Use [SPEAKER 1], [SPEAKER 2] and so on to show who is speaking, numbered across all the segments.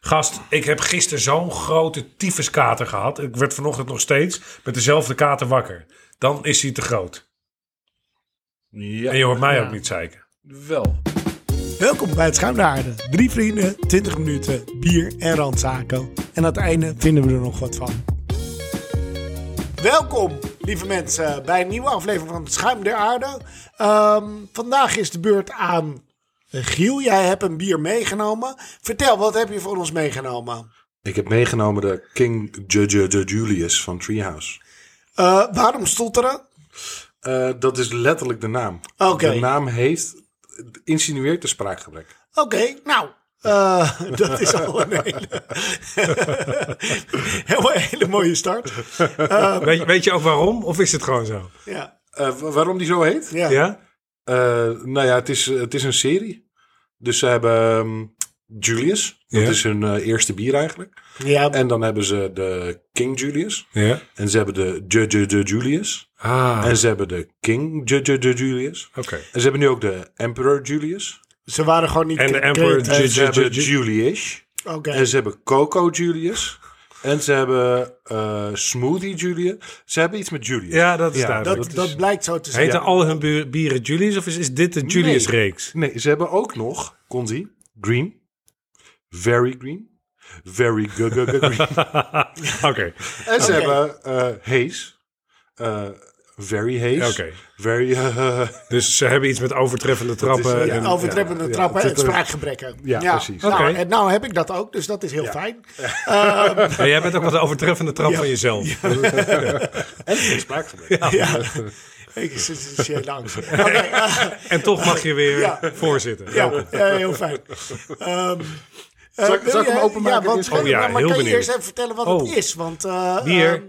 [SPEAKER 1] Gast, ik heb gisteren zo'n grote tyfuskater gehad. Ik werd vanochtend nog steeds met dezelfde kater wakker. Dan is hij te groot.
[SPEAKER 2] Ja,
[SPEAKER 1] En je hoort mij
[SPEAKER 3] Ja.
[SPEAKER 1] ook niet zeiken.
[SPEAKER 2] wel.
[SPEAKER 3] Welkom bij het Schuim naar Aarde. Drie vrienden, 20 minuten, bier en randzaken. En aan het einde vinden we er nog wat van. Welkom, lieve mensen, bij een nieuwe aflevering van het Schuim der Aarde. Ehm, vandaag is de beurt aan Giel. Jij hebt een bier meegenomen. Vertel, wat heb je voor ons meegenomen?
[SPEAKER 2] Ik heb meegenomen de King Ju- Ju- Ju- Julius van Treehouse.
[SPEAKER 3] Eh, waarom stotteren?
[SPEAKER 2] Eh, dat is letterlijk de naam.
[SPEAKER 3] Oké.
[SPEAKER 2] De naam heeft, insinueert de spraakgebrek.
[SPEAKER 3] Oké, nou. eh, dat is al een hele, hele, hele mooie start.
[SPEAKER 1] Weet, je- weet je ook waarom? Of is het gewoon zo?
[SPEAKER 3] Ja,
[SPEAKER 2] Eh, wa- waarom die zo heet?
[SPEAKER 3] ja.
[SPEAKER 1] Ja?
[SPEAKER 2] Eh, nou ja, het is, het is een serie. Dus ze hebben ehm, Julius. Dat
[SPEAKER 1] Ja.
[SPEAKER 2] is hun eh, eerste bier eigenlijk.
[SPEAKER 3] Ja,
[SPEAKER 2] En dan hebben ze de King Julius.
[SPEAKER 1] Ja.
[SPEAKER 2] En ze hebben de Ju- Ju- Ju- Julius.
[SPEAKER 1] Ah,
[SPEAKER 2] En ze hebben de King Ju- Ju- Ju- Julius.
[SPEAKER 1] oké.
[SPEAKER 2] En ze hebben nu ook de Emperor Julius.
[SPEAKER 3] ze waren gewoon niet...
[SPEAKER 1] En de
[SPEAKER 3] cre-
[SPEAKER 1] Emperor
[SPEAKER 3] creatief.
[SPEAKER 2] En ze
[SPEAKER 1] Ju- Ju-
[SPEAKER 2] hebben
[SPEAKER 1] Ju-
[SPEAKER 2] Julius.
[SPEAKER 3] Oké,
[SPEAKER 2] En ze hebben Coco Julius. En ze hebben eh, Smoothie Julius. Ze hebben iets met Julius.
[SPEAKER 1] Ja, dat is
[SPEAKER 2] Ja,
[SPEAKER 3] dat,
[SPEAKER 1] duidelijk.
[SPEAKER 3] dat, blijkt zo te zijn.
[SPEAKER 1] Heten al hun bu- bieren Julius of is, is dit de Julius-reeks?
[SPEAKER 2] Nee, ze hebben ook nog, kon die, Green. Very Green. Very gu- gu- gu- green.
[SPEAKER 1] Oké,
[SPEAKER 2] en
[SPEAKER 3] Oké.
[SPEAKER 2] ze hebben eh Haze. eh, very Haze.
[SPEAKER 1] Oké.
[SPEAKER 2] Very... eh,
[SPEAKER 1] dus ze hebben iets met overtreffende trappen.
[SPEAKER 2] eh,
[SPEAKER 1] en-
[SPEAKER 3] Ja, overtreppende
[SPEAKER 2] Ja, ja,
[SPEAKER 3] trappen en
[SPEAKER 2] het is een-
[SPEAKER 3] spraakgebreken.
[SPEAKER 2] Ja, precies.
[SPEAKER 3] Nou,
[SPEAKER 1] Oké.
[SPEAKER 3] en nou heb ik dat ook, dus dat is heel fijn.
[SPEAKER 1] Ja, jij bent ook wel de overtreffende trap van jezelf.
[SPEAKER 2] en geen spraakgebrek.
[SPEAKER 3] Ja. Ik zit zeer langs. Oké, eh,
[SPEAKER 1] En toch mag je weer
[SPEAKER 3] Ja.
[SPEAKER 1] voorzitten.
[SPEAKER 3] ja, eh, heel fijn. Ehm, eh,
[SPEAKER 2] Zal ik-
[SPEAKER 3] wil
[SPEAKER 2] zal ik hem
[SPEAKER 3] je-
[SPEAKER 2] openmaken?
[SPEAKER 3] Ja, want,
[SPEAKER 1] Oh ja,
[SPEAKER 3] maar
[SPEAKER 1] heel
[SPEAKER 3] kan je
[SPEAKER 1] benieuwd.
[SPEAKER 3] eerst even vertellen wat
[SPEAKER 1] Oh.
[SPEAKER 3] het is? Want, eh,
[SPEAKER 1] Bier.
[SPEAKER 3] ehm,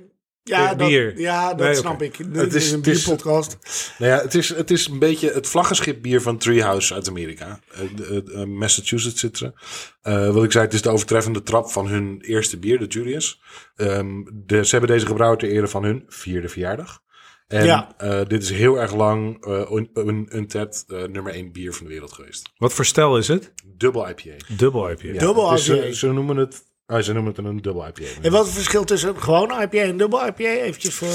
[SPEAKER 3] ja,
[SPEAKER 1] Eh,
[SPEAKER 3] dat,
[SPEAKER 1] bier.
[SPEAKER 3] ja, dat
[SPEAKER 1] Nee,
[SPEAKER 3] snap
[SPEAKER 1] oké.
[SPEAKER 3] ik. Dit
[SPEAKER 2] is-
[SPEAKER 3] is een
[SPEAKER 2] het is-
[SPEAKER 3] bierpodcast.
[SPEAKER 2] Nou ja, het is, het is een beetje het vlaggenschipbier van Treehouse uit Amerika. Eh, de- eh, eh, Massachusetts zit er. Eh, wat ik zei, het is de overtreffende trap van hun eerste bier, de Julius. Ehm, de, ze hebben deze gebrouwen ter ere van hun vierde verjaardag. En
[SPEAKER 3] Ja.
[SPEAKER 2] eh, dit is heel erg lang eh, een, een, een TED eh, nummer 1 bier van de wereld geweest.
[SPEAKER 1] Wat voor stel is het?
[SPEAKER 2] Dubbel IPA.
[SPEAKER 1] Dubbel heb je.
[SPEAKER 2] Ja,
[SPEAKER 3] Dubbel
[SPEAKER 2] het is, eh,
[SPEAKER 3] IPA.
[SPEAKER 2] Ze, noemen het, ah, ze noemen het een dubbel IPA.
[SPEAKER 3] En wat is het verschil tussen een gewone IPA en een dubbel IPA? Eventjes voor...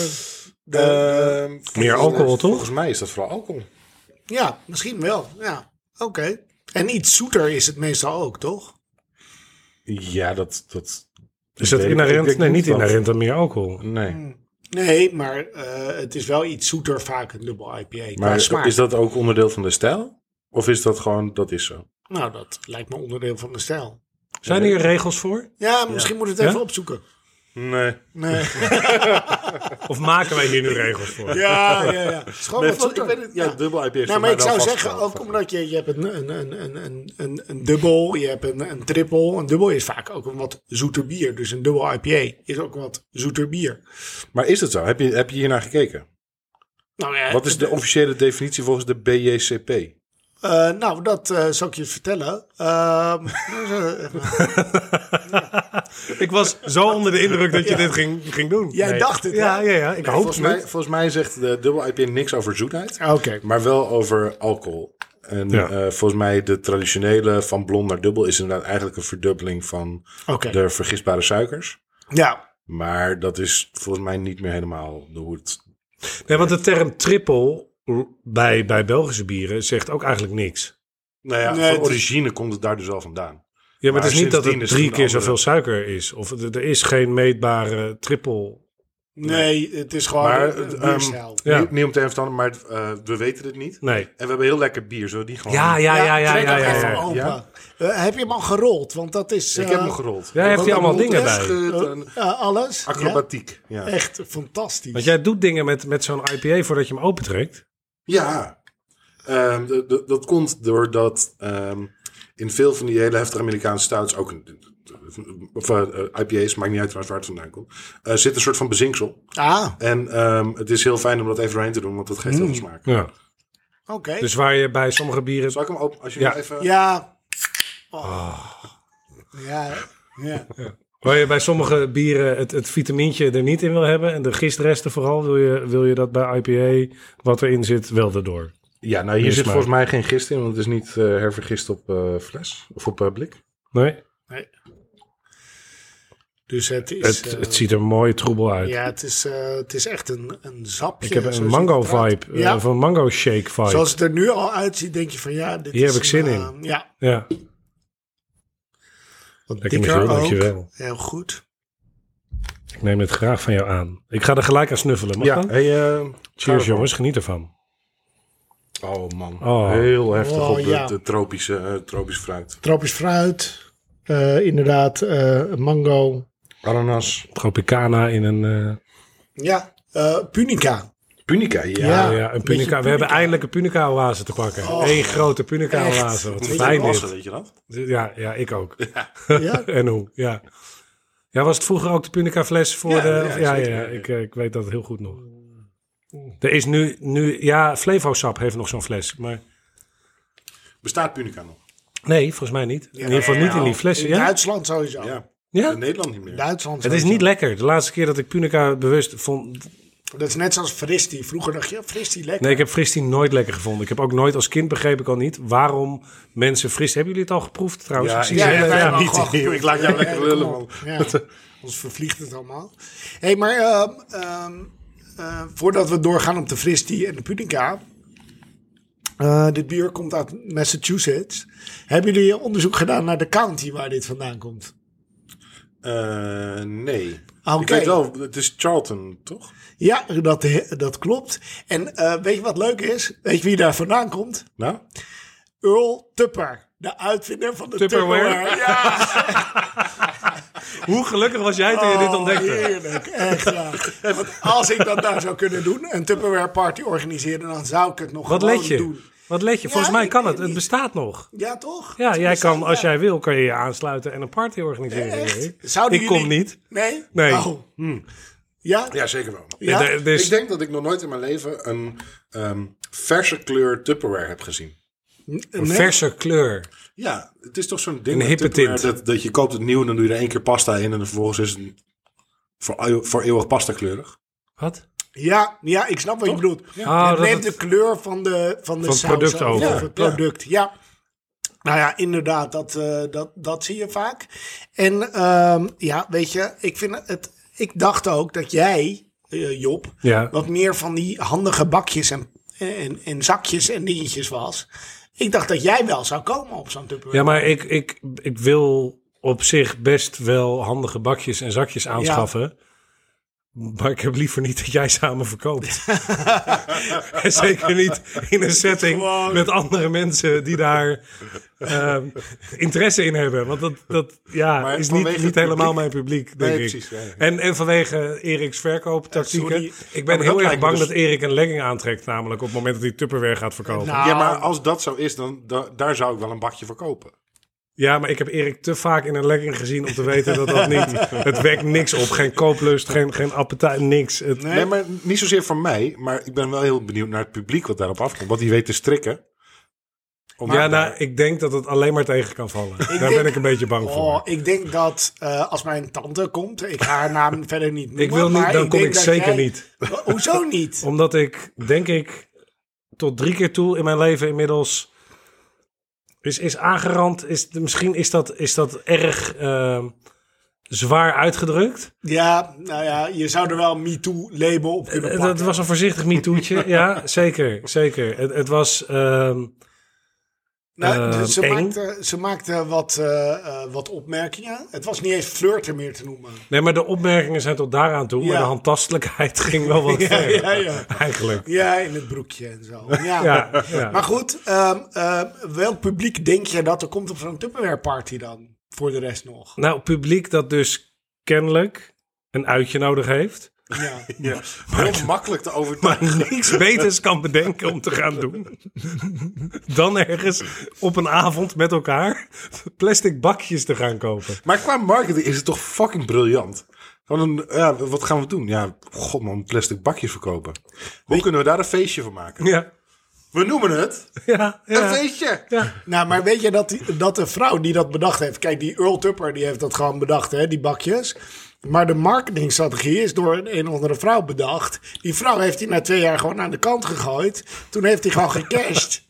[SPEAKER 3] De,
[SPEAKER 2] Ehm, volgens-
[SPEAKER 1] alcohol, toch?
[SPEAKER 2] Volgens mij is dat vooral alcohol.
[SPEAKER 3] Ja, misschien wel. Ja, oké. En iets zoeter is het meestal ook, toch?
[SPEAKER 2] Ja, dat... dat
[SPEAKER 1] Is dat
[SPEAKER 2] Ik weet- ik-
[SPEAKER 1] inherent?
[SPEAKER 2] ik
[SPEAKER 1] Nee,
[SPEAKER 2] moet
[SPEAKER 1] niet
[SPEAKER 2] dat.
[SPEAKER 1] inherent aan meer alcohol.
[SPEAKER 2] Nee.
[SPEAKER 3] Nee, maar eh, het is wel iets zoeter vaak een dubbel IPA. qua
[SPEAKER 2] Maar
[SPEAKER 3] smaak.
[SPEAKER 2] is dat ook onderdeel van de stijl? Of is dat gewoon, dat is zo?
[SPEAKER 3] Nou, dat lijkt me onderdeel van de stijl.
[SPEAKER 1] Zijn hier regels voor?
[SPEAKER 3] Ja, misschien moet het even
[SPEAKER 1] Ja?
[SPEAKER 3] opzoeken.
[SPEAKER 2] Nee.
[SPEAKER 3] Nee.
[SPEAKER 1] Of maken wij hier nu regels voor?
[SPEAKER 3] Ja, ja, ja. Het is gewoon wat
[SPEAKER 2] ik
[SPEAKER 3] zoeter.
[SPEAKER 2] weet het, ja,
[SPEAKER 3] Ja.
[SPEAKER 2] dubbel IPA
[SPEAKER 3] Nou,
[SPEAKER 2] is voor
[SPEAKER 3] maar
[SPEAKER 2] mij
[SPEAKER 3] ik
[SPEAKER 2] wel
[SPEAKER 3] zou
[SPEAKER 2] vast-
[SPEAKER 3] zeggen, ook
[SPEAKER 2] vast-
[SPEAKER 3] omdat je, je hebt een, een, een, een, een, een, een dubbel, je hebt een, een triple. Een dubbel is vaak ook een wat zoeter bier. Dus een dubbel IPA is ook een wat zoeter bier.
[SPEAKER 2] Maar is het zo? Heb je, heb je hier naar gekeken?
[SPEAKER 3] Nou, ja,
[SPEAKER 2] Wat is de officiële definitie volgens de BJCP?
[SPEAKER 3] Eh, nou, dat eh, zal ik je vertellen. Ehm,
[SPEAKER 1] Ik was zo onder de indruk dat je dit ging, ging doen.
[SPEAKER 3] Jij dacht het, hè?
[SPEAKER 1] Ja, ja, ja. Ik hoop
[SPEAKER 2] Volgens
[SPEAKER 1] het
[SPEAKER 2] mij,
[SPEAKER 1] niet.
[SPEAKER 2] volgens mij zegt de dubbel IPA niks over zoetheid,
[SPEAKER 1] Ah,
[SPEAKER 3] Oké.
[SPEAKER 2] maar wel over alcohol. En
[SPEAKER 1] Ja.
[SPEAKER 2] eh, volgens mij de traditionele van blond naar dubbel is inderdaad eigenlijk een verdubbeling van
[SPEAKER 3] Oké.
[SPEAKER 2] de vergisbare suikers.
[SPEAKER 3] Ja.
[SPEAKER 2] Maar dat is volgens mij niet meer helemaal de hoe het
[SPEAKER 1] Nee, want de term triple bij, bij Belgische bieren zegt ook eigenlijk niks.
[SPEAKER 2] Nou ja,
[SPEAKER 3] Nee,
[SPEAKER 2] van
[SPEAKER 3] het is- Oh,
[SPEAKER 2] origine komt het daar dus al vandaan.
[SPEAKER 1] Ja, maar,
[SPEAKER 2] Maar
[SPEAKER 1] het is niet dat
[SPEAKER 2] sindsdien
[SPEAKER 1] het
[SPEAKER 2] is
[SPEAKER 1] drie
[SPEAKER 2] het een
[SPEAKER 1] keer
[SPEAKER 2] andere-
[SPEAKER 1] zoveel suiker is. Of er er is geen meetbare triple.
[SPEAKER 3] Nee, het is gewoon
[SPEAKER 2] Maar,
[SPEAKER 3] een- een
[SPEAKER 2] ehm,
[SPEAKER 3] bierstijl.
[SPEAKER 1] Ja.
[SPEAKER 2] Niet, niet om te verstanden, maar eh, we weten het niet.
[SPEAKER 1] Nee.
[SPEAKER 2] En we hebben heel lekker bier, zo die gewoon...
[SPEAKER 1] Ja, ja, ja, ja,
[SPEAKER 3] trek
[SPEAKER 1] ja.
[SPEAKER 3] hem
[SPEAKER 1] ja,
[SPEAKER 3] even
[SPEAKER 1] ja.
[SPEAKER 3] open.
[SPEAKER 2] Ja.
[SPEAKER 3] Eh, heb je hem al gerold? Want dat is...
[SPEAKER 2] Ik
[SPEAKER 3] eh,
[SPEAKER 2] heb hem gerold.
[SPEAKER 1] Jij heeft hier allemaal dingen bij.
[SPEAKER 2] bij.
[SPEAKER 3] eh, alles. ja.
[SPEAKER 2] Acrobatiek, ja. Ja.
[SPEAKER 3] Echt fantastisch.
[SPEAKER 1] Want jij doet dingen met, met zo'n IPA voordat je hem opentrekt.
[SPEAKER 2] Ehm, d- d- dat komt doordat ehm, in veel van die hele heftige Amerikaanse stouts, ook in- of, eh, IPA's, maakt niet uit waar het vandaan komt, eh, zit een soort van bezinksel.
[SPEAKER 3] Ah,
[SPEAKER 2] En ehm, het is heel fijn om dat even doorheen te doen, want dat
[SPEAKER 1] Mm.
[SPEAKER 2] geeft heel veel smaak.
[SPEAKER 1] Ja.
[SPEAKER 3] oké.
[SPEAKER 1] Dus waar je bij sommige bieren...
[SPEAKER 2] Zal ik hem open? Als je
[SPEAKER 1] Ja.
[SPEAKER 2] nog even...
[SPEAKER 3] Ja.
[SPEAKER 1] Ah.
[SPEAKER 3] Oh. Ja. Ja.
[SPEAKER 1] Waar je bij sommige bieren het, het vitamintje er niet in wil hebben. En de gistresten vooral wil je, wil je dat bij IPA, wat erin zit, wel erdoor.
[SPEAKER 2] Ja, nou hier
[SPEAKER 1] Meer
[SPEAKER 2] zit
[SPEAKER 1] smaak.
[SPEAKER 2] volgens mij geen gist in, want het is niet eh, hervergist op eh, fles of op eh, blik.
[SPEAKER 1] Nee?
[SPEAKER 3] Nee. Dus het is...
[SPEAKER 1] Het,
[SPEAKER 3] eh,
[SPEAKER 1] het ziet er mooi troebel uit.
[SPEAKER 3] ja, het is, eh, het is echt een, een zapje.
[SPEAKER 1] ik heb
[SPEAKER 3] zoals
[SPEAKER 1] een
[SPEAKER 3] je
[SPEAKER 1] mango
[SPEAKER 3] het praat.
[SPEAKER 1] vibe, eh,
[SPEAKER 3] Ja.
[SPEAKER 1] of een mango shake vibe.
[SPEAKER 3] Zoals het er nu al uitziet, denk je van ja, dit
[SPEAKER 1] Hier
[SPEAKER 3] is
[SPEAKER 1] heb ik
[SPEAKER 3] een,
[SPEAKER 1] zin
[SPEAKER 3] eh, ja,
[SPEAKER 1] Ja,
[SPEAKER 3] wat
[SPEAKER 1] Lekker
[SPEAKER 3] dikker
[SPEAKER 1] Michiel,
[SPEAKER 3] ook.
[SPEAKER 1] dankjewel.
[SPEAKER 3] Heel goed.
[SPEAKER 1] ik neem het graag van jou aan. Ik ga er gelijk aan snuffelen. Mag
[SPEAKER 2] Ja,
[SPEAKER 1] dat?
[SPEAKER 2] hey, eh,
[SPEAKER 1] Cheers
[SPEAKER 2] ervoor.
[SPEAKER 1] jongens, geniet ervan.
[SPEAKER 2] Oh man,
[SPEAKER 1] Oh.
[SPEAKER 2] heel heftig
[SPEAKER 3] Oh,
[SPEAKER 2] op de-
[SPEAKER 3] ja.
[SPEAKER 2] de, tropische, eh, tropisch fruit.
[SPEAKER 3] Tropisch fruit. eh, inderdaad, eh, mango.
[SPEAKER 2] Ananas.
[SPEAKER 1] Tropicana in een... eh,
[SPEAKER 3] Ja, eh, punica.
[SPEAKER 2] Punica, ja.
[SPEAKER 3] Ja.
[SPEAKER 1] oh ja,
[SPEAKER 3] een
[SPEAKER 1] een
[SPEAKER 3] beetje Oh.
[SPEAKER 1] punica. We hebben eindelijk een punica oase te pakken. Eén grote punica
[SPEAKER 3] echt.
[SPEAKER 1] oase. Wat
[SPEAKER 2] Een beetje
[SPEAKER 1] fijn
[SPEAKER 2] wassen,
[SPEAKER 1] dit.
[SPEAKER 2] weet je dat?
[SPEAKER 1] Ja, ja, ik ook.
[SPEAKER 3] Ja?
[SPEAKER 1] en hoe, ja. Ja, was het vroeger ook de punica fles voor
[SPEAKER 2] Ja,
[SPEAKER 1] de...
[SPEAKER 2] ja,
[SPEAKER 1] Ja, ja,
[SPEAKER 2] zeker.
[SPEAKER 1] Ik, eh, ik weet dat heel goed nog. Er is nu... nu ja, Flevosap heeft nog zo'n fles, maar...
[SPEAKER 2] Bestaat Punica nog?
[SPEAKER 1] Nee, volgens mij niet. In ieder geval niet in die flessen,
[SPEAKER 3] In
[SPEAKER 1] ja?
[SPEAKER 3] Duitsland sowieso.
[SPEAKER 2] Ja.
[SPEAKER 1] Ja?
[SPEAKER 2] In Nederland niet meer.
[SPEAKER 3] Duitsland
[SPEAKER 1] Het is
[SPEAKER 3] sowieso.
[SPEAKER 1] niet lekker. De laatste keer dat ik punica bewust vond...
[SPEAKER 3] Dat is net zoals Fristi. Vroeger dacht je, Fristi lekker.
[SPEAKER 1] Nee, ik heb Fristie nooit lekker gevonden. Ik heb ook nooit als kind begreep ik al niet... waarom mensen fris... Hebben jullie het al geproefd trouwens? Ik zie
[SPEAKER 3] ja,
[SPEAKER 1] ze-
[SPEAKER 3] ja, ja, ja.
[SPEAKER 2] niet. Ik laat jou lekker lullen, man.
[SPEAKER 3] Ja, ons vervliegt het allemaal. Hé, hey, maar ehm, ehm, eh, voordat we doorgaan op de Fristi en de Pudica. eh, dit bier komt uit Massachusetts. Hebben jullie onderzoek gedaan naar de county waar dit vandaan komt?
[SPEAKER 2] Eh, nee.
[SPEAKER 3] Ah,
[SPEAKER 2] Ik
[SPEAKER 3] oké.
[SPEAKER 2] weet wel, het is Charlton, toch?
[SPEAKER 3] Ja, dat, dat klopt. En eh, weet je wat leuk is? Weet je wie daar vandaan komt?
[SPEAKER 2] Nou?
[SPEAKER 3] Earl Tupper, de uitvinder van de Tupperware.
[SPEAKER 1] Tupperware?
[SPEAKER 3] Ja,
[SPEAKER 1] Hoe gelukkig was jij toen je dit ontdekte?
[SPEAKER 3] Oh, heerlijk. Echt waar. En Want als ik dat nou zou kunnen doen, een Tupperware party organiseren, dan zou ik het nog
[SPEAKER 1] Wat
[SPEAKER 3] gewoon
[SPEAKER 1] let je?
[SPEAKER 3] doen.
[SPEAKER 1] Wat let je? Volgens
[SPEAKER 3] Ja,
[SPEAKER 1] mij
[SPEAKER 3] ik
[SPEAKER 1] kan
[SPEAKER 3] weet
[SPEAKER 1] het. Het
[SPEAKER 3] niet.
[SPEAKER 1] bestaat nog.
[SPEAKER 3] Ja, toch?
[SPEAKER 1] Ja,
[SPEAKER 3] Het
[SPEAKER 1] jij
[SPEAKER 3] bestaat,
[SPEAKER 1] kan, als
[SPEAKER 3] ja.
[SPEAKER 1] jij wil, kan je je aansluiten en een party organiseren.
[SPEAKER 3] Echt?
[SPEAKER 1] denk ik.
[SPEAKER 3] Zouden
[SPEAKER 1] ik
[SPEAKER 3] jullie-
[SPEAKER 1] kom niet.
[SPEAKER 3] Nee?
[SPEAKER 1] Nee. Hm.
[SPEAKER 3] Oh. Ja?
[SPEAKER 2] Ja, zeker wel.
[SPEAKER 3] Ja?
[SPEAKER 1] Er- er is-
[SPEAKER 2] Ik denk dat ik nog nooit in mijn leven een ehm, verse kleur Tupperware heb gezien.
[SPEAKER 1] een verse kleur.
[SPEAKER 2] Ja, het is toch zo'n ding.
[SPEAKER 1] Een
[SPEAKER 2] met
[SPEAKER 1] hippe
[SPEAKER 2] Tupperware
[SPEAKER 1] tint.
[SPEAKER 2] Dat, dat je koopt het nieuw en dan doe je er één keer pasta in en dan vervolgens is het een- voor, eeu- voor eeuwig pasta kleurig.
[SPEAKER 1] Wat?
[SPEAKER 3] Ja, ja, ik snap wat je bedoelt.
[SPEAKER 1] Ah,
[SPEAKER 3] het
[SPEAKER 1] dat
[SPEAKER 3] neemt
[SPEAKER 1] het-
[SPEAKER 3] de kleur van de, van
[SPEAKER 1] Van
[SPEAKER 3] de
[SPEAKER 1] het
[SPEAKER 3] saus
[SPEAKER 1] product over.
[SPEAKER 3] Of het product, ja. Nou ja, inderdaad, dat, eh, dat, dat zie je vaak. En ehm, ja, weet je, ik, vind het, ik dacht ook dat jij, eh, Job,
[SPEAKER 1] Ja.
[SPEAKER 3] wat meer van die handige bakjes en, en, en zakjes en dingetjes was. Ik dacht dat jij wel zou komen op zo'n tupperware.
[SPEAKER 1] Ja, maar ik, ik, ik wil op zich best wel handige bakjes en zakjes aanschaffen. Maar ik heb liever niet dat jij samen verkoopt. en zeker niet in een setting
[SPEAKER 3] Gewoon.
[SPEAKER 1] met andere mensen die daar ehm, interesse in hebben. Want dat, dat ja,
[SPEAKER 2] Maar
[SPEAKER 1] is
[SPEAKER 2] vanwege
[SPEAKER 1] niet,
[SPEAKER 2] het
[SPEAKER 1] niet helemaal
[SPEAKER 2] publiek?
[SPEAKER 1] mijn publiek, denk
[SPEAKER 2] Nee,
[SPEAKER 1] ik.
[SPEAKER 2] precies, ja, ja.
[SPEAKER 1] En, en vanwege Erik's verkooptactieken.
[SPEAKER 3] Ja, sorry.
[SPEAKER 1] ik
[SPEAKER 2] Maar
[SPEAKER 1] ben
[SPEAKER 2] dat
[SPEAKER 1] heel erg
[SPEAKER 2] lijkt me
[SPEAKER 1] bang
[SPEAKER 2] dus-
[SPEAKER 1] dat Erik een legging aantrekt. Namelijk op het moment dat hij Tupperware gaat verkopen.
[SPEAKER 3] Nou,
[SPEAKER 2] Ja, maar als dat zo is, dan da- daar zou ik wel een bakje voor kopen.
[SPEAKER 1] Ja, maar ik heb Erik te vaak in een legging gezien om te weten dat dat niet... Het wekt niks op, geen kooplust, geen, geen appetijt, niks. Het,
[SPEAKER 2] Nee, maar niet zozeer voor mij, maar ik ben wel heel benieuwd naar het publiek wat daarop afkomt. Wat die weet te strikken. Om
[SPEAKER 1] ja,
[SPEAKER 2] daar-
[SPEAKER 1] nou, ik denk dat het alleen maar tegen kan vallen. Daar
[SPEAKER 3] denk-
[SPEAKER 1] ben ik een beetje bang
[SPEAKER 3] Oh,
[SPEAKER 1] voor.
[SPEAKER 3] ik denk dat eh, als mijn tante komt, ik ga haar naam verder niet noemen.
[SPEAKER 1] Ik wil niet,
[SPEAKER 3] maar
[SPEAKER 1] dan kom
[SPEAKER 3] denk
[SPEAKER 1] ik
[SPEAKER 3] dat
[SPEAKER 1] zeker
[SPEAKER 3] jij-
[SPEAKER 1] niet.
[SPEAKER 3] Ho- Hoezo niet?
[SPEAKER 1] Omdat ik, denk ik, tot drie keer toe in mijn leven inmiddels... Is, is aangerand, is, misschien is dat, is dat erg ehm, zwaar uitgedrukt.
[SPEAKER 3] Ja, nou ja, je zou er wel MeToo-label op kunnen
[SPEAKER 1] Eh,
[SPEAKER 3] plakken.
[SPEAKER 1] Dat was een voorzichtig MeToo'tje. ja, zeker, zeker. Het, het was... ehm,
[SPEAKER 3] nou,
[SPEAKER 1] eh,
[SPEAKER 3] dus ze,
[SPEAKER 1] eng.
[SPEAKER 3] maakte, ze maakte wat, eh, eh, wat opmerkingen. Het was niet eens flirten meer te noemen.
[SPEAKER 1] Nee, maar de opmerkingen zijn tot daaraan toe.
[SPEAKER 3] Ja.
[SPEAKER 1] Maar de handtastelijkheid ging wel wat
[SPEAKER 3] Ja,
[SPEAKER 1] ver.
[SPEAKER 3] ja, ja.
[SPEAKER 1] Eigenlijk.
[SPEAKER 3] Ja, in het broekje en zo. Ja.
[SPEAKER 1] Ja, ja.
[SPEAKER 3] Maar goed, ehm, ehm, welk publiek denk je dat er komt op zo'n Tupperware-party dan? Voor de rest nog.
[SPEAKER 1] Nou, publiek dat dus kennelijk een uitje nodig heeft.
[SPEAKER 3] Ja.
[SPEAKER 2] Ja, heel makkelijk te overtuigen.
[SPEAKER 1] Niks beters kan bedenken om te gaan doen. Dan ergens op een avond met elkaar plastic bakjes te gaan kopen.
[SPEAKER 2] Maar qua marketing is het toch fucking briljant. Gewoon een, ja, wat gaan we doen? Ja, god man, plastic bakjes verkopen. Hoe kunnen we daar een feestje van maken?
[SPEAKER 1] Ja,
[SPEAKER 2] We noemen het
[SPEAKER 1] ja,
[SPEAKER 2] een
[SPEAKER 1] ja.
[SPEAKER 2] feestje.
[SPEAKER 3] Nou, maar weet je dat, die- dat de vrouw die dat bedacht heeft... Kijk, die Earl Tupper die heeft dat gewoon bedacht, hè, die bakjes. Maar de marketingstrategie is door een, een of andere vrouw bedacht. Die vrouw heeft hij na twee jaar gewoon aan de kant gegooid. Toen heeft hij gewoon gecashed.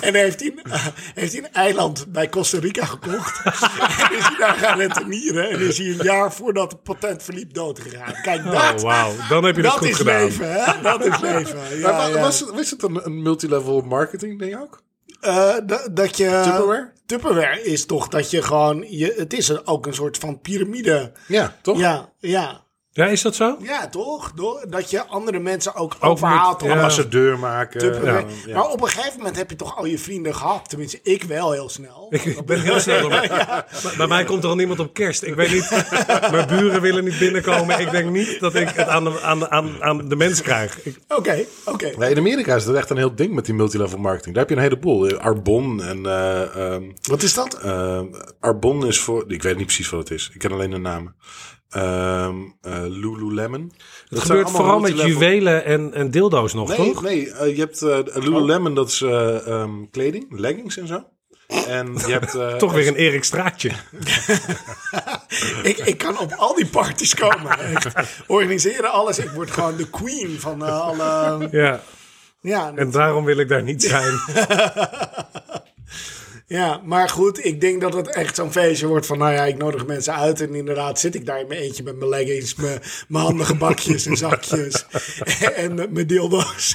[SPEAKER 3] en heeft hij, een- heeft hij een eiland bij Costa Rica gekocht. en is hij daar gaan rentenieren. En is hij een jaar voordat het patent verliep doodgegaan. Kijk, dat,
[SPEAKER 1] Oh, wauw. Dan heb je het
[SPEAKER 3] dat
[SPEAKER 1] goed
[SPEAKER 3] is
[SPEAKER 1] gedaan.
[SPEAKER 3] leven, hè? Dat is leven. Ja,
[SPEAKER 2] maar wa-
[SPEAKER 3] ja.
[SPEAKER 2] Was, het- was het een, een multilevel marketing ding ook?
[SPEAKER 3] Eh, da- dat je...
[SPEAKER 2] Tupperware?
[SPEAKER 3] Tupperware is toch dat je gewoon... Je, het is een- ook een soort van piramide.
[SPEAKER 2] Ja, toch?
[SPEAKER 3] Ja, ja.
[SPEAKER 1] Ja, is dat zo?
[SPEAKER 3] Ja, toch? Door- Dat je andere mensen ook,
[SPEAKER 1] Ook
[SPEAKER 3] overhaalt
[SPEAKER 1] moet-
[SPEAKER 3] om
[SPEAKER 1] ja.
[SPEAKER 2] Ambassadeur maken.
[SPEAKER 3] Tupperware.
[SPEAKER 2] eh, ja.
[SPEAKER 3] Maar op een gegeven moment heb je toch al je vrienden gehad. Tenminste, ik wel heel snel.
[SPEAKER 1] Ik ben heel snel door. Bij- Bij mij komt er al niemand op kerst. Ik weet niet, mijn buren willen niet binnenkomen. Ik denk niet dat ik het aan de, aan de, aan, aan de mens krijg. Ik,
[SPEAKER 3] Oké, oké.
[SPEAKER 2] Nee, in Amerika is dat echt een heel ding met die multilevel marketing. Daar heb je een heleboel. Eh, Arbon en... eh, ehm,
[SPEAKER 3] Wat is dat?
[SPEAKER 2] ehm, Arbon is voor... Ik weet niet precies wat het is. Ik ken alleen de namen. Ehm eh, Lululemon.
[SPEAKER 1] het gebeurt vooral met juwelen en, en dildo's nog,
[SPEAKER 2] Nee,
[SPEAKER 1] toch?
[SPEAKER 2] nee eh, je hebt eh, Lululemon, dat is eh, ehm, kleding, leggings en zo. En je hebt... eh,
[SPEAKER 1] Toch weer een Erik Straatje.
[SPEAKER 3] Ik, ik kan op al die parties komen. Echt. Organiseren alles. Ik word gewoon de queen van eh, alle...
[SPEAKER 1] Ja,
[SPEAKER 3] Ja,
[SPEAKER 1] en daarom wil ik daar niet zijn.
[SPEAKER 3] ja, maar goed. Ik denk dat het echt zo'n feestje wordt van... Nou ja, ik nodig mensen uit. En inderdaad zit ik daar in mijn eentje met mijn leggings. Mijn, mijn handige bakjes en zakjes. en met mijn dildo's.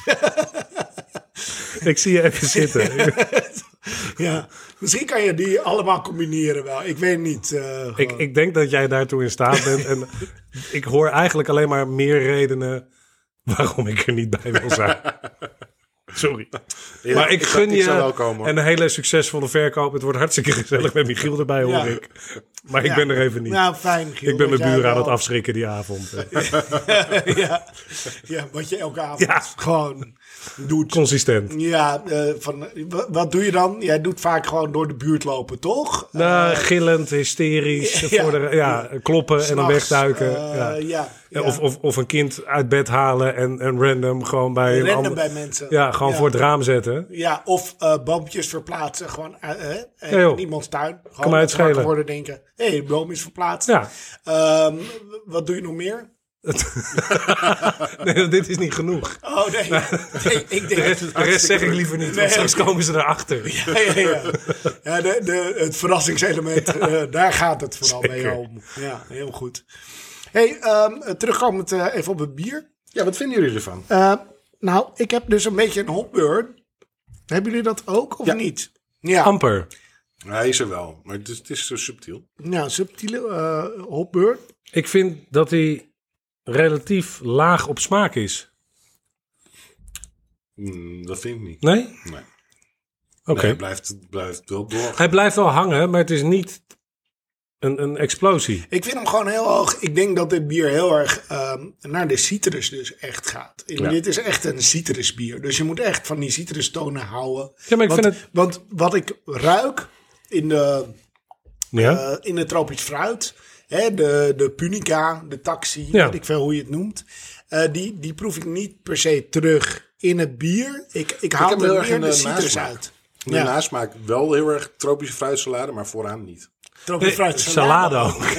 [SPEAKER 1] Ik zie je even zitten.
[SPEAKER 3] Ja, misschien kan je die allemaal combineren wel. Ik weet niet. eh,
[SPEAKER 1] Ik,
[SPEAKER 3] gewoon.
[SPEAKER 1] ik denk dat jij daartoe in staat bent. En ik hoor eigenlijk alleen maar meer redenen waarom ik er niet bij wil zijn. Sorry.
[SPEAKER 2] ja,
[SPEAKER 1] maar ik
[SPEAKER 2] zou-
[SPEAKER 1] gun je
[SPEAKER 2] zou wel komen, hoor.
[SPEAKER 1] een hele succesvolle verkoop. Het wordt hartstikke gezellig met Michiel erbij, hoor
[SPEAKER 3] Ja.
[SPEAKER 1] ik. Maar ik
[SPEAKER 3] Ja.
[SPEAKER 1] ben er even niet.
[SPEAKER 3] Nou, fijn, Giel,
[SPEAKER 1] ik ben
[SPEAKER 3] dat
[SPEAKER 1] mijn
[SPEAKER 3] jij
[SPEAKER 1] buren aan
[SPEAKER 3] wel-
[SPEAKER 1] het afschrikken die avond. Eh,
[SPEAKER 3] ja. ja, wat je elke avond
[SPEAKER 1] Ja.
[SPEAKER 3] gewoon doet.
[SPEAKER 1] Consistent.
[SPEAKER 3] Ja, eh, van, eh, wa- wat doe je dan? Jij doet vaak gewoon door de buurt lopen, toch? Eh,
[SPEAKER 1] Nou, gillend, hysterisch,
[SPEAKER 3] ja.
[SPEAKER 1] voor de, ja, kloppen en dan
[SPEAKER 3] S'nachts,
[SPEAKER 1] wegduiken.
[SPEAKER 3] eh,
[SPEAKER 1] ja.
[SPEAKER 3] ja, ja.
[SPEAKER 1] Of, of, of een kind uit bed halen en, en random gewoon bij een
[SPEAKER 3] Random
[SPEAKER 1] ander-
[SPEAKER 3] bij mensen.
[SPEAKER 1] Ja, gewoon
[SPEAKER 3] Ja.
[SPEAKER 1] voor het raam zetten.
[SPEAKER 3] Ja, of eh boompjes verplaatsen gewoon eh, eh,
[SPEAKER 1] Ja, joh.
[SPEAKER 3] in iemands tuin. Gewoon
[SPEAKER 1] mij het
[SPEAKER 3] dat ze wakker
[SPEAKER 1] schelen.
[SPEAKER 3] worden denken, hé, de boom is verplaatst.
[SPEAKER 1] Ja.
[SPEAKER 3] Ehm, w- wat doe je nog meer?
[SPEAKER 1] Nee, dit is niet genoeg.
[SPEAKER 3] Oh nee, nee ik
[SPEAKER 1] De
[SPEAKER 3] denk...
[SPEAKER 1] rest, de rest zeg ik liever niet, want
[SPEAKER 3] Nee.
[SPEAKER 1] straks komen ze erachter.
[SPEAKER 3] Ja, ja, ja. ja de, de, het verrassingselement, eh, daar gaat het vooral mee
[SPEAKER 1] Zeker.
[SPEAKER 3] om. Ja, heel goed. hey, ehm, terugkomend eh, even op het bier.
[SPEAKER 2] Ja, wat vinden jullie ervan?
[SPEAKER 3] Eh, nou, ik heb dus een beetje een hopburn. Hebben jullie dat ook of
[SPEAKER 2] Ja.
[SPEAKER 3] niet? Ja,
[SPEAKER 1] Amper.
[SPEAKER 2] Hij is er wel, maar het is, het is zo subtiel.
[SPEAKER 3] ja subtiele eh hopburn.
[SPEAKER 1] Ik vind dat hij relatief laag op smaak is.
[SPEAKER 2] Mm, dat vind ik niet.
[SPEAKER 1] Nee? Oké.
[SPEAKER 2] Nee. Nee, het blijft, het blijft wel door.
[SPEAKER 1] Hij blijft wel hangen, maar het is niet een, een explosie.
[SPEAKER 3] Ik vind hem gewoon heel hoog. Ik denk dat dit bier heel erg ehm, naar de citrus dus echt gaat. Ik bedoel,
[SPEAKER 2] Ja.
[SPEAKER 3] Dit is echt een citrusbier. Dus je moet echt van die citrustonen houden.
[SPEAKER 1] Ja, maar ik
[SPEAKER 3] want,
[SPEAKER 1] vind het-
[SPEAKER 3] want wat ik ruik in, de,
[SPEAKER 1] Ja?
[SPEAKER 3] eh, in het tropisch fruit... Hè, de, de punica, de taxi,
[SPEAKER 1] Ja.
[SPEAKER 3] weet ik veel hoe je het noemt... eh, die, die proef ik niet per se terug in het bier. Ik, ik haal
[SPEAKER 2] heb
[SPEAKER 3] er
[SPEAKER 2] heel erg
[SPEAKER 3] meer
[SPEAKER 2] een,
[SPEAKER 3] de
[SPEAKER 2] eh,
[SPEAKER 3] citrus
[SPEAKER 2] nasmaak.
[SPEAKER 3] uit.
[SPEAKER 2] De
[SPEAKER 3] Ja.
[SPEAKER 2] nasmaak wel heel erg tropische fruitsalade, maar vooraan niet.
[SPEAKER 3] Tropisch
[SPEAKER 1] Nee,
[SPEAKER 3] fruit
[SPEAKER 1] salade ook.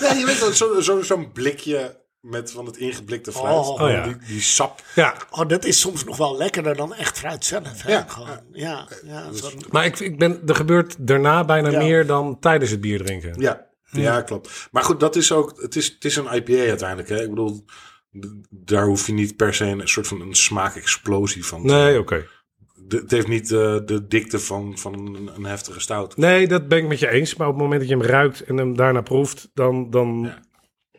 [SPEAKER 2] Ja, je weet dat zo- zo- zo'n blikje met van het ingeblikte fruit.
[SPEAKER 3] Oh.
[SPEAKER 1] Oh, ja.
[SPEAKER 2] die, die sap.
[SPEAKER 1] Ja,
[SPEAKER 3] Oh, dat is soms nog wel lekkerder dan echt fruit zelf. Hè?
[SPEAKER 2] Ja. Eh, dus-
[SPEAKER 3] Gewoon, ja, ja, zo'n-
[SPEAKER 1] maar ik, ik ben, er gebeurt daarna bijna
[SPEAKER 3] Ja.
[SPEAKER 1] meer dan tijdens het bier drinken.
[SPEAKER 2] Ja, ja klopt. Maar goed, dat is ook. Het is, het is een IPA uiteindelijk. Hè? Ik bedoel, d- daar hoef je niet per se een soort van een smaakexplosie van. te-
[SPEAKER 1] Nee, oké.
[SPEAKER 2] De- het heeft niet eh, de dikte van, van een, een heftige stout.
[SPEAKER 1] Nee, dat ben ik met je eens. Maar op het moment dat je hem ruikt en hem daarna proeft, dan, dan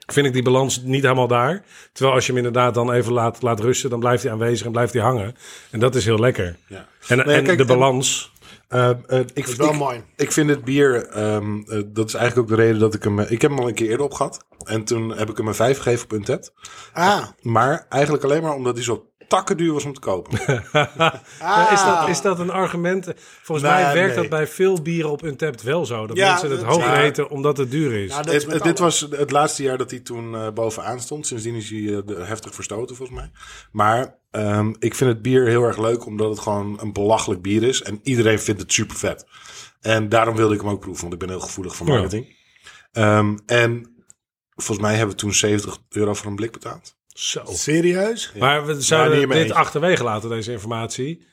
[SPEAKER 1] vind ik die balans niet helemaal daar. Terwijl als je hem inderdaad dan even laat, laat rusten, dan blijft hij aanwezig en blijft hij hangen. En dat is heel lekker.
[SPEAKER 2] Ja.
[SPEAKER 1] En,
[SPEAKER 2] Maar ja,
[SPEAKER 1] en
[SPEAKER 2] kijk,
[SPEAKER 1] de
[SPEAKER 2] en-
[SPEAKER 1] balans.
[SPEAKER 2] Eh, eh, ik,
[SPEAKER 3] is wel
[SPEAKER 2] ik-
[SPEAKER 3] mooi.
[SPEAKER 2] Ik vind het bier, ehm, eh, dat is eigenlijk ook de reden dat ik hem... eh, Ik heb hem al een keer eerder opgehad. En toen heb ik hem een 5 gegeven op Untappd.
[SPEAKER 3] Ah,
[SPEAKER 2] Maar eigenlijk alleen maar omdat hij zo takken duur was om te kopen.
[SPEAKER 1] Ja, is, dat, is dat een argument? Volgens
[SPEAKER 3] Nou,
[SPEAKER 1] mij werkt
[SPEAKER 3] Ah. nee.
[SPEAKER 1] dat bij veel bieren op Untappd wel zo. Dat
[SPEAKER 3] Ja,
[SPEAKER 1] mensen het
[SPEAKER 3] dat-
[SPEAKER 1] hoog
[SPEAKER 3] ja.
[SPEAKER 1] eten omdat het duur is.
[SPEAKER 3] ja, dat is
[SPEAKER 2] Het-
[SPEAKER 3] met
[SPEAKER 2] het- dit
[SPEAKER 3] alles.
[SPEAKER 2] was het laatste jaar dat hij toen eh, bovenaan stond. Sindsdien is hij eh, de- heftig verstoten, volgens mij. Maar ehm, ik vind het bier heel erg leuk, omdat het gewoon een belachelijk bier is. En iedereen vindt het super vet. En daarom wilde ik hem ook proeven, want ik ben heel gevoelig voor marketing. Ehm, en Volgens mij hebben we toen 70 euro voor een blik betaald.
[SPEAKER 1] Zo.
[SPEAKER 3] Serieus?
[SPEAKER 1] Maar we zouden
[SPEAKER 2] niet mee
[SPEAKER 1] dit
[SPEAKER 2] eens.
[SPEAKER 1] achterwege laten, deze informatie.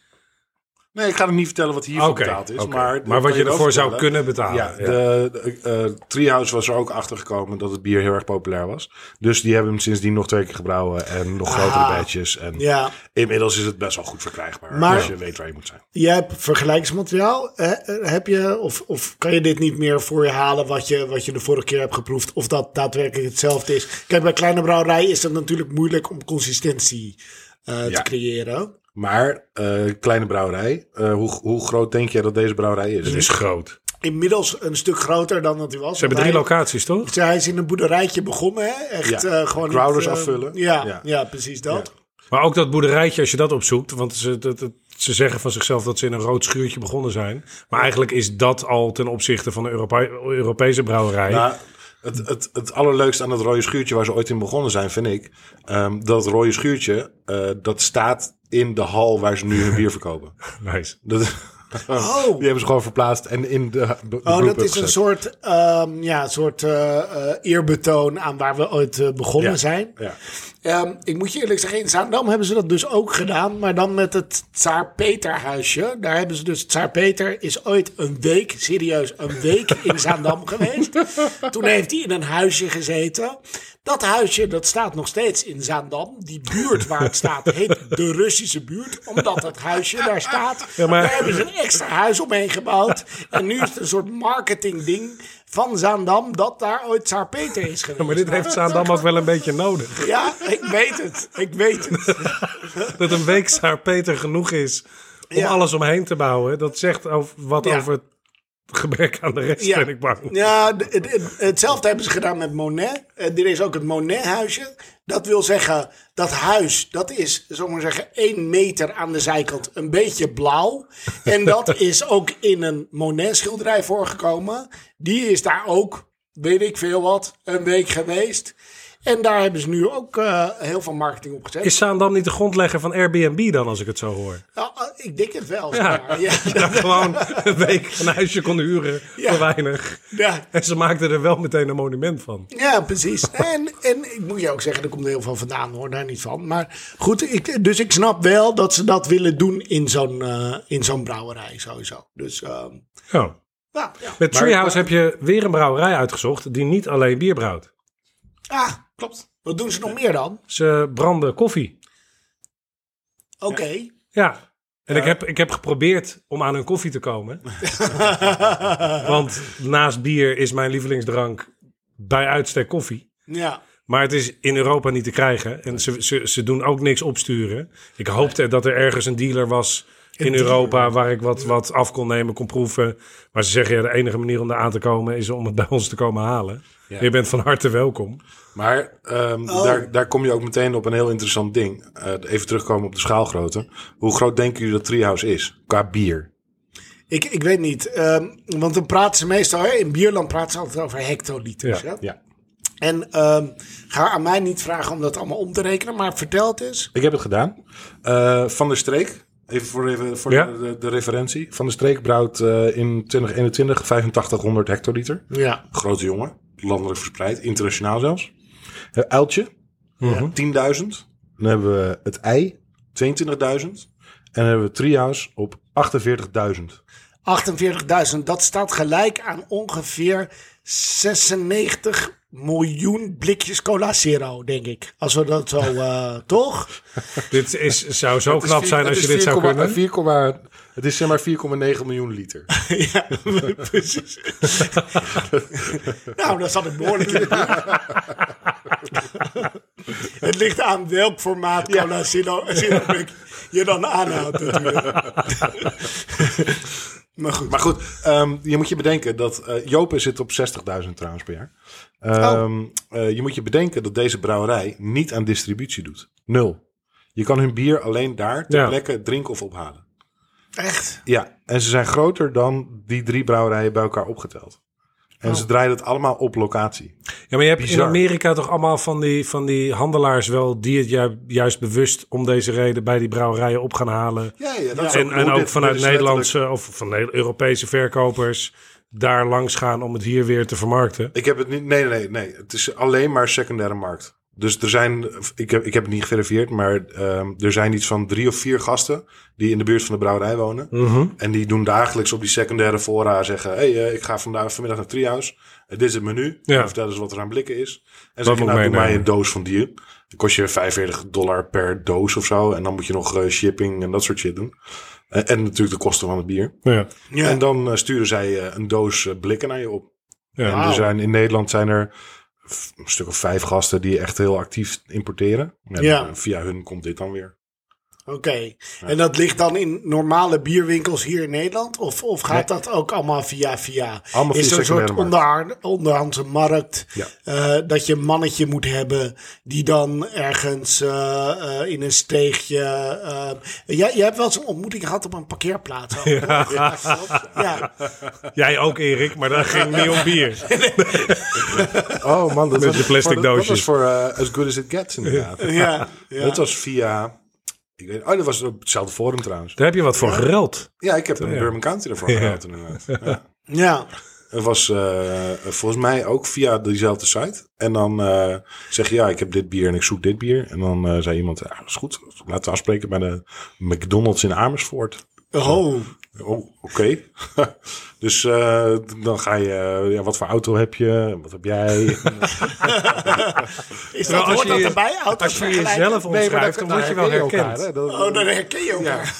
[SPEAKER 2] Nee, ik ga hem niet vertellen wat hiervoor
[SPEAKER 1] Oké,
[SPEAKER 2] betaald is.
[SPEAKER 1] oké.
[SPEAKER 2] Maar,
[SPEAKER 1] Maar wat je ervoor zou kunnen betalen.
[SPEAKER 2] Ja,
[SPEAKER 1] Ja.
[SPEAKER 2] de, de, eh, Treehouse was er ook achter gekomen dat het bier heel erg populair was. Dus die hebben hem sindsdien nog twee keer gebrouwen en
[SPEAKER 1] Ah.
[SPEAKER 2] nog grotere batches. En
[SPEAKER 3] Ja.
[SPEAKER 2] inmiddels is het best wel goed verkrijgbaar.
[SPEAKER 3] Maar-
[SPEAKER 2] als je weet waar je moet zijn.
[SPEAKER 3] Jij hebt vergelijkingsmateriaal. eh, heb je, of, of kan je dit niet meer voor je halen wat je, wat je de vorige keer hebt geproefd? Of dat daadwerkelijk hetzelfde is? Kijk, bij kleine brouwerijen is het natuurlijk moeilijk om consistentie eh,
[SPEAKER 2] Ja.
[SPEAKER 3] te creëren.
[SPEAKER 2] Maar, eh, kleine brouwerij. eh, hoe, hoe groot denk jij dat deze brouwerij is?
[SPEAKER 1] Het is groot.
[SPEAKER 3] Inmiddels een stuk groter dan dat hij was.
[SPEAKER 1] Ze hebben drie
[SPEAKER 3] Want hij-
[SPEAKER 1] locaties, toch?
[SPEAKER 3] Hij is in een boerderijtje begonnen, hè? Echt
[SPEAKER 2] Ja,
[SPEAKER 3] eh, gewoon...
[SPEAKER 2] crowders
[SPEAKER 3] eh,
[SPEAKER 2] afvullen.
[SPEAKER 3] Ja, ja.
[SPEAKER 2] Ja.
[SPEAKER 3] precies dat.
[SPEAKER 1] Maar ook dat boerderijtje, als je dat opzoekt. Want ze, dat- dat- ze zeggen van zichzelf dat ze in een rood schuurtje begonnen zijn. Maar eigenlijk is dat al ten opzichte van de Europe- Europese brouwerij.
[SPEAKER 2] Nou, het, het, het allerleukste aan dat rode schuurtje waar ze ooit in begonnen zijn, vind ik. ehm, dat rode schuurtje, eh, dat staat in de hal waar ze nu hun bier verkopen.
[SPEAKER 1] nice.
[SPEAKER 2] Dat, Die hebben ze gewoon verplaatst en in de, de
[SPEAKER 3] Oh,
[SPEAKER 2] groep
[SPEAKER 3] dat is een
[SPEAKER 2] gezet.
[SPEAKER 3] soort, ehm, ja, soort eh, eh, eerbetoon aan waar we ooit eh, begonnen
[SPEAKER 2] Ja.
[SPEAKER 3] zijn.
[SPEAKER 2] Ja.
[SPEAKER 3] Ehm, ik moet je eerlijk zeggen, in Zaandam hebben ze dat dus ook gedaan. Maar dan met het Tsaar Peter huisje. Daar hebben ze dus... Tsaar Peter is ooit een week, serieus, een week in Zaandam geweest. Toen heeft hij in een huisje gezeten. Dat huisje, dat staat nog steeds in Zaandam. Die buurt waar het staat, heet de Russische buurt. Omdat het huisje daar staat.
[SPEAKER 1] maar-
[SPEAKER 3] Daar hebben ze een extra huis omheen gebouwd. En nu is het een soort marketingding van Zaandam... dat daar ooit Tsaar Peter is geweest.
[SPEAKER 1] Maar dit heeft Zaandam ook wel een beetje nodig.
[SPEAKER 3] Ja, ik weet het. Ik weet het.
[SPEAKER 1] Dat een week Saar Peter genoeg is om
[SPEAKER 3] Ja.
[SPEAKER 1] alles omheen te bouwen. Dat zegt over, wat
[SPEAKER 3] Ja.
[SPEAKER 1] over het gebrek aan de rest,
[SPEAKER 3] Ja.
[SPEAKER 1] ben ik bang.
[SPEAKER 3] Ja, d- d- d- hetzelfde hebben ze gedaan met Monet. Eh, Er is ook het Monet-huisje. Dat wil zeggen, dat huis, dat is, zullen we maar zeggen, één meter aan de zijkant een beetje blauw. En dat is ook in een Monet-schilderij voorgekomen. Die is daar ook, weet ik veel wat, een week geweest. En daar hebben ze nu ook eh, heel veel marketing op gezet.
[SPEAKER 1] Is Zaandam niet de grondlegger van Airbnb dan, als ik het zo hoor?
[SPEAKER 3] Nou, eh, ik denk het wel. zeg
[SPEAKER 1] Ja.
[SPEAKER 3] maar. Ja.
[SPEAKER 1] Dat gewoon een week een huisje kon huren
[SPEAKER 3] Ja.
[SPEAKER 1] voor weinig.
[SPEAKER 3] ja.
[SPEAKER 1] En ze maakten er wel meteen een monument van.
[SPEAKER 3] Ja, precies. En, en ik moet je ook zeggen, er komt heel veel vandaan hoor, daar niet van. Maar goed, ik, dus ik snap wel dat ze dat willen doen in zo'n eh, in zo'n brouwerij sowieso. Dus ehm,
[SPEAKER 1] Ja.
[SPEAKER 3] nou, ja.
[SPEAKER 1] Met Treehouse heb je weer een brouwerij uitgezocht die niet alleen bier brouwt.
[SPEAKER 3] Ah, klopt. Wat doen ze nog meer dan?
[SPEAKER 1] Ze branden koffie.
[SPEAKER 3] Oké.
[SPEAKER 1] Ja. En Ik, heb, ik heb geprobeerd om aan hun koffie te komen. Want naast bier is mijn lievelingsdrank bij uitstek koffie.
[SPEAKER 3] Ja.
[SPEAKER 1] Maar het is in Europa niet te krijgen. En ze, ze, ze doen ook niks opsturen. Ik hoopte dat er ergens een dealer was in Europa waar ik wat, wat af kon nemen, kon proeven. Maar ze zeggen ja, de enige manier om er aan te komen is om het bij ons te komen halen. Je bent van harte welkom.
[SPEAKER 2] Maar ehm,
[SPEAKER 3] Oh.
[SPEAKER 2] daar, daar kom je ook meteen op een heel interessant ding. Eh, even terugkomen op de schaalgrootte. Hoe groot denken jullie dat Treehouse is qua bier?
[SPEAKER 3] Ik, ik weet niet, ehm, want dan praten ze meestal, hè, in Bierland praten ze altijd over hectoliters.
[SPEAKER 1] Ja,
[SPEAKER 3] hè?
[SPEAKER 2] Ja.
[SPEAKER 3] En ehm, ga aan mij niet vragen om dat allemaal om te rekenen, maar vertel het eens.
[SPEAKER 2] Ik heb het gedaan. Eh, van der Streek, even voor, even voor
[SPEAKER 1] Ja.
[SPEAKER 2] de, de, de referentie. Van der Streek brouwt eh, in 2021 8500 hectoliter.
[SPEAKER 3] Ja.
[SPEAKER 2] Grote jongen, landelijk verspreid, internationaal zelfs. Het uiltje,
[SPEAKER 1] Mhm.
[SPEAKER 2] 10.000. Dan hebben we het ei, 22.000. En dan hebben we Treehouse op 48.000.
[SPEAKER 3] 48.000, dat staat gelijk aan ongeveer 96 miljoen blikjes cola zero, denk ik. Als we dat zo, eh, toch?
[SPEAKER 1] Dit is, zou zo knap zijn
[SPEAKER 2] Het
[SPEAKER 1] als
[SPEAKER 2] is
[SPEAKER 1] je dit zou
[SPEAKER 2] 4,8
[SPEAKER 1] kunnen.
[SPEAKER 2] 4,8 het is zeg maar 4,9 miljoen liter.
[SPEAKER 3] ja, precies. nou, dat zat ik behoorlijk in. de buurt. Het ligt aan welk formaat cola zero, zero blik je dan aanhoudt natuurlijk. maar goed.
[SPEAKER 2] Maar goed, ehm, je moet je bedenken dat... eh Jopen zit op 60.000 trouwens per jaar.
[SPEAKER 1] Oh.
[SPEAKER 2] Ehm, eh, je moet je bedenken dat deze brouwerij niet aan distributie doet. Nul. Je kan hun bier alleen daar ter
[SPEAKER 1] Ja.
[SPEAKER 2] plekke drinken of ophalen.
[SPEAKER 3] Echt?
[SPEAKER 2] Ja, en ze zijn groter dan die drie brouwerijen bij elkaar opgeteld. En ze draaien het allemaal op locatie.
[SPEAKER 1] Ja, maar je hebt in
[SPEAKER 2] Bizar.
[SPEAKER 1] Amerika toch allemaal van die, van die handelaars wel... die het ju- juist bewust om deze reden bij die brouwerijen op gaan halen.
[SPEAKER 2] Ja, ja, dat is
[SPEAKER 1] en
[SPEAKER 2] ook
[SPEAKER 1] en
[SPEAKER 2] hoe
[SPEAKER 1] ook
[SPEAKER 2] dit-
[SPEAKER 1] vanuit
[SPEAKER 2] dit is letterlijk-
[SPEAKER 1] Nederlandse of van de Europese verkopers... daar langs gaan om het hier weer te vermarkten.
[SPEAKER 2] Ik heb het niet. Nee, nee, nee. Het is alleen maar secundaire markt. Dus er zijn, ik heb, ik heb het niet geverifieerd, maar ehm, er zijn iets van drie of vier gasten die in de buurt van de brouwerij wonen.
[SPEAKER 1] Mhm.
[SPEAKER 2] En die doen dagelijks op die secundaire fora zeggen, hey, eh, ik ga vandaag vanmiddag naar Triaus. Eh, dit is het menu.
[SPEAKER 1] Ja.
[SPEAKER 2] Of dat is wat er aan blikken is. En ze zeggen,
[SPEAKER 1] moet
[SPEAKER 2] nou, doe
[SPEAKER 1] meenemen?
[SPEAKER 2] mij een doos van die. Dan kost je 45 dollar per doos of zo. En dan moet je nog eh, shipping en dat soort shit doen. Eh, en natuurlijk de kosten van het bier.
[SPEAKER 1] Ja.
[SPEAKER 3] Ja.
[SPEAKER 2] En dan eh, sturen zij eh, een doos eh, blikken naar je op.
[SPEAKER 1] Ja.
[SPEAKER 2] En
[SPEAKER 3] Wauw.
[SPEAKER 2] er zijn, in Nederland zijn er f- een stuk of vijf gasten die echt heel actief importeren. En
[SPEAKER 3] Ja.
[SPEAKER 2] eh, via hun komt dit dan weer.
[SPEAKER 3] Oké. En dat ligt dan in normale bierwinkels hier in Nederland? Of, of gaat dat ook allemaal via via?
[SPEAKER 2] Allemaal via
[SPEAKER 3] Is er een soort
[SPEAKER 2] secundaire
[SPEAKER 3] onder, onderhandse markt?
[SPEAKER 2] Ja.
[SPEAKER 3] eh, dat je een mannetje moet hebben die dan ergens eh, eh, in een steegje... eh, jij, jij hebt wel eens een ontmoeting gehad op een parkeerplaats. ook, toch? Ja. ja.
[SPEAKER 1] Jij ook, Erik, maar dat ging niet om bier.
[SPEAKER 2] Oh man, dat
[SPEAKER 1] Met de plastic
[SPEAKER 2] voor- dat-
[SPEAKER 1] doosjes.
[SPEAKER 2] Dat was voor eh, As Good As It Gets inderdaad.
[SPEAKER 3] ja,
[SPEAKER 2] Dat was via... Ik weet, oh, dat was op hetzelfde forum trouwens.
[SPEAKER 1] Daar heb je wat voor gereld.
[SPEAKER 2] Ja, ik heb een Durban County ervoor gehaald inderdaad. Ja.
[SPEAKER 3] Ja.
[SPEAKER 2] Het was eh, volgens mij ook via diezelfde site. En dan eh, zeg je, ja, ik heb dit bier en ik zoek dit bier. En dan eh, zei iemand, ja, dat is goed. Laten we afspreken bij de McDonald's in Amersfoort.
[SPEAKER 3] Oh,
[SPEAKER 2] Oh, oké. dus eh, dan ga je, eh, ja, wat voor auto heb je? Wat heb jij?
[SPEAKER 3] is
[SPEAKER 1] Nou,
[SPEAKER 3] dat,
[SPEAKER 1] als
[SPEAKER 3] hoort
[SPEAKER 1] je-
[SPEAKER 3] dat erbij? Auto's
[SPEAKER 1] Als je
[SPEAKER 3] vergelijken?
[SPEAKER 1] jezelf omschrijft, dan word je wel herkend.
[SPEAKER 3] Oh, dan herken je elkaar.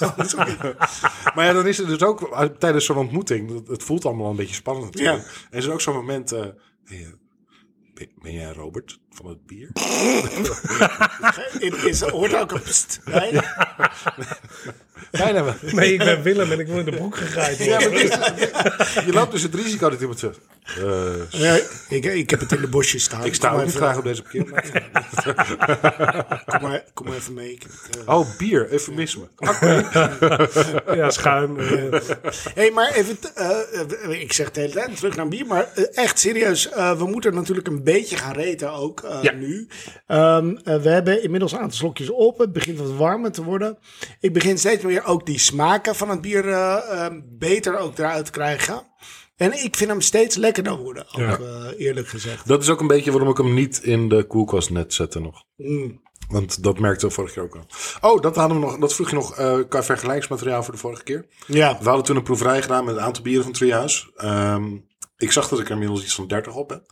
[SPEAKER 2] maar ja, dan is het dus ook eh, tijdens zo'n ontmoeting, dat- het voelt allemaal een beetje spannend natuurlijk. En er is ook zo'n moment, eh, hey, eh, ben- ben jij Robert van het bier?
[SPEAKER 3] Is, is, hoort ook een pst bij?
[SPEAKER 2] Bijna wel.
[SPEAKER 1] Nee, ik ben Willem en ik wil in de broek gegraaid
[SPEAKER 2] Ja,
[SPEAKER 1] worden.
[SPEAKER 2] maar dit- je loopt dus het risico dat iemand zegt... eh,
[SPEAKER 3] Ja, ik, ik heb het in de bosjes staan.
[SPEAKER 2] ik sta
[SPEAKER 3] kom
[SPEAKER 2] ook niet
[SPEAKER 3] even,
[SPEAKER 2] graag op deze parkeerplaats.
[SPEAKER 3] Kom maar, kom maar even mee. Ik heb het, eh.
[SPEAKER 2] Oh, bier, eufemisme.
[SPEAKER 1] Ja, schuim. eh.
[SPEAKER 3] hey, maar even, t- eh, eh, ik zeg het de hele tijd terug naar bier, maar eh, echt serieus, eh, we moeten natuurlijk een beetje gaan reten ook eh, nu. Ehm, eh, we hebben inmiddels een aantal slokjes op, het begint wat warmer te worden. Ik begin steeds meer ook die smaken van het bier eh, eh, beter ook eruit te krijgen. En ik vind hem steeds lekkerder worden, ook, eh, eerlijk gezegd.
[SPEAKER 2] Dat is ook een beetje waarom ik hem niet in de koelkast net zette nog. Mm. Want dat merkte we vorig jaar ook al. Oh, dat, hadden we nog, dat vroeg je nog eh, qua vergelijksmateriaal voor de vorige keer.
[SPEAKER 3] Ja.
[SPEAKER 2] We hadden toen een proeverij gedaan met een aantal bieren van Triaus. Ehm, ik zag dat ik er inmiddels iets van 30 op heb.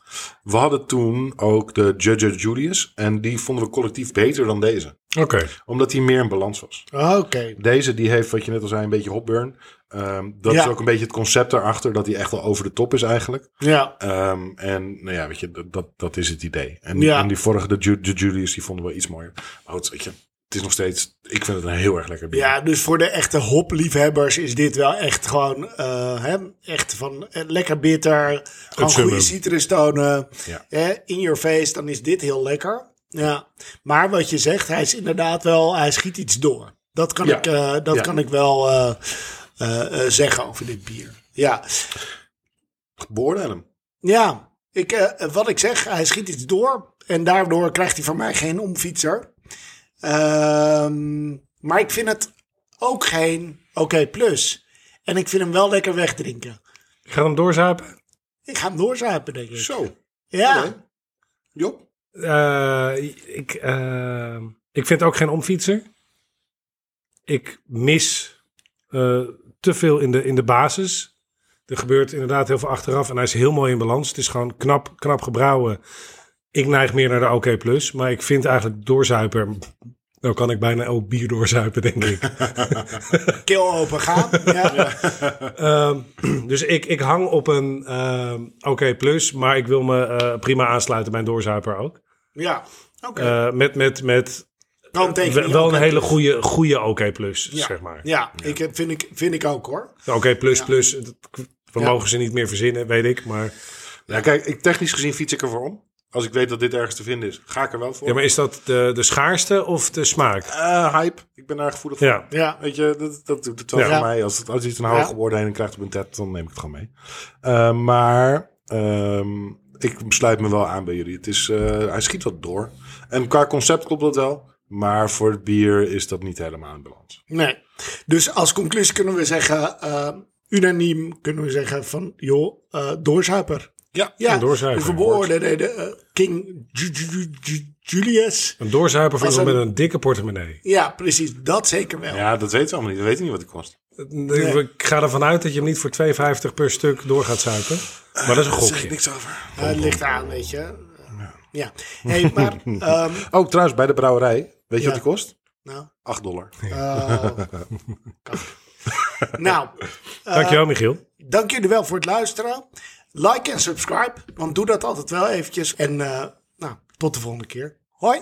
[SPEAKER 2] We hadden toen ook de Judge Julius. En die vonden we collectief beter dan deze.
[SPEAKER 1] Oké.
[SPEAKER 2] Omdat die meer in balans was.
[SPEAKER 3] Oké.
[SPEAKER 2] Deze die heeft, wat je net al zei, een beetje hopburn. Ehm, dat
[SPEAKER 3] Ja.
[SPEAKER 2] is ook een beetje het concept daarachter. Dat die echt al over de top is eigenlijk.
[SPEAKER 3] Ja.
[SPEAKER 2] Ehm, en nou ja, weet je, dat- dat, dat is het idee. En,
[SPEAKER 3] Ja.
[SPEAKER 2] en die vorige, de, Ju- de Julius, die vonden we iets mooier. Maar goed, weet je, het is nog steeds... Ik vind het een heel erg lekker bier.
[SPEAKER 3] Ja, dus voor de echte hopliefhebbers is dit wel echt gewoon eh, hè, echt van eh, lekker bitter, gewoon
[SPEAKER 1] summum.
[SPEAKER 3] goede citrustonen.
[SPEAKER 2] Ja.
[SPEAKER 3] Hè, in your face, dan is dit heel lekker. Ja. Maar wat je zegt, hij is inderdaad wel, hij schiet iets door. Dat kan,
[SPEAKER 2] Ja.
[SPEAKER 3] ik, eh, dat
[SPEAKER 2] Ja.
[SPEAKER 3] kan ik wel eh, eh, eh, zeggen over dit bier. Ja,
[SPEAKER 2] Beoordeel hem.
[SPEAKER 3] ja. Ik, eh, wat ik zeg, hij schiet iets door en daardoor krijgt hij van mij geen omfietser. Ehm, maar ik vind het ook geen oké plus. En ik vind hem wel lekker wegdrinken.
[SPEAKER 1] Ik ga hem doorzuipen.
[SPEAKER 3] Ik ga hem doorzuipen, denk ik.
[SPEAKER 2] Zo.
[SPEAKER 3] ja.
[SPEAKER 2] oké. Job?
[SPEAKER 1] Eh, ik, eh, ik vind ook geen omfietser. Ik mis eh, te veel in de, in de basis. Er gebeurt inderdaad heel veel achteraf en hij is heel mooi in balans. Het is gewoon knap, knap gebrouwen. Ik neig meer naar de OK+. Plus, maar ik vind eigenlijk doorzuiper... Nou kan ik bijna elk bier doorzuipen, denk ik.
[SPEAKER 3] Keel open gaan. Ja.
[SPEAKER 1] Ehm, dus ik, ik hang op een ehm, oké plus, maar ik wil me eh, prima aansluiten bij een doorzuiper ook.
[SPEAKER 3] ja. Oké.
[SPEAKER 1] Eh, met met, met
[SPEAKER 3] Kan tegen
[SPEAKER 1] wel
[SPEAKER 3] die
[SPEAKER 1] wel
[SPEAKER 3] oké
[SPEAKER 1] een hele
[SPEAKER 3] plus.
[SPEAKER 1] goede, goede oké plus,
[SPEAKER 3] Ja.
[SPEAKER 1] zeg maar.
[SPEAKER 3] Ja, Ik heb, vind, ik, vind ik ook hoor.
[SPEAKER 1] De Oké plus plus, het- we mogen ze niet meer verzinnen, weet ik. Maar,
[SPEAKER 2] Ja, kijk, ik, technisch gezien fiets ik ervoor om. Als ik weet dat dit ergens te vinden is, ga ik er wel voor.
[SPEAKER 1] ja, maar is dat de, de schaarste of de smaak?
[SPEAKER 2] Eh, hype. Ik ben daar gevoelig voor.
[SPEAKER 1] Ja.
[SPEAKER 3] Ja.
[SPEAKER 2] Weet je, dat, dat doet het wel
[SPEAKER 1] Ja.
[SPEAKER 2] voor mij. Als, het, als iets een
[SPEAKER 3] Ja.
[SPEAKER 2] hoge beoordeling krijgt op een tab, dan neem ik het gewoon mee. Eh, maar ehm, ik sluit me wel aan bij jullie. Het is, eh, hij schiet wat door. En qua concept klopt dat wel. Maar voor het bier is dat niet helemaal in balans.
[SPEAKER 3] Nee. Dus als conclusie kunnen we zeggen: eh, unaniem kunnen we zeggen van, joh, eh doorzuiper.
[SPEAKER 2] Ja.
[SPEAKER 3] Ja,
[SPEAKER 1] Een doorzuiper,
[SPEAKER 3] dus we beoordelen de, eh, King Ju- Ju- Ju- Julius.
[SPEAKER 1] Een doorzuiper van
[SPEAKER 3] Als
[SPEAKER 1] iemand
[SPEAKER 3] een-
[SPEAKER 1] met een dikke portemonnee.
[SPEAKER 3] Ja, precies. Dat zeker wel.
[SPEAKER 2] Ja, dat weten we allemaal niet. We weten niet wat het kost.
[SPEAKER 1] Ik ga ervan uit dat je hem niet voor 2,50 per stuk door gaat zuipen. Maar dat is een
[SPEAKER 2] Zeg ik
[SPEAKER 1] gokje.
[SPEAKER 2] niks over.
[SPEAKER 3] Eh, het ligt aan, weet je. Ja. Hey, maar, ehm,
[SPEAKER 2] Oh, trouwens, bij de brouwerij. Weet je wat het kost?
[SPEAKER 3] nou,
[SPEAKER 2] 8 dollar.
[SPEAKER 3] eh, kak. nou,
[SPEAKER 1] Dankjewel, Michiel.
[SPEAKER 3] dank jullie wel voor het luisteren. Like en subscribe, want doe dat altijd wel eventjes. En eh, nou, tot de volgende keer. Hoi.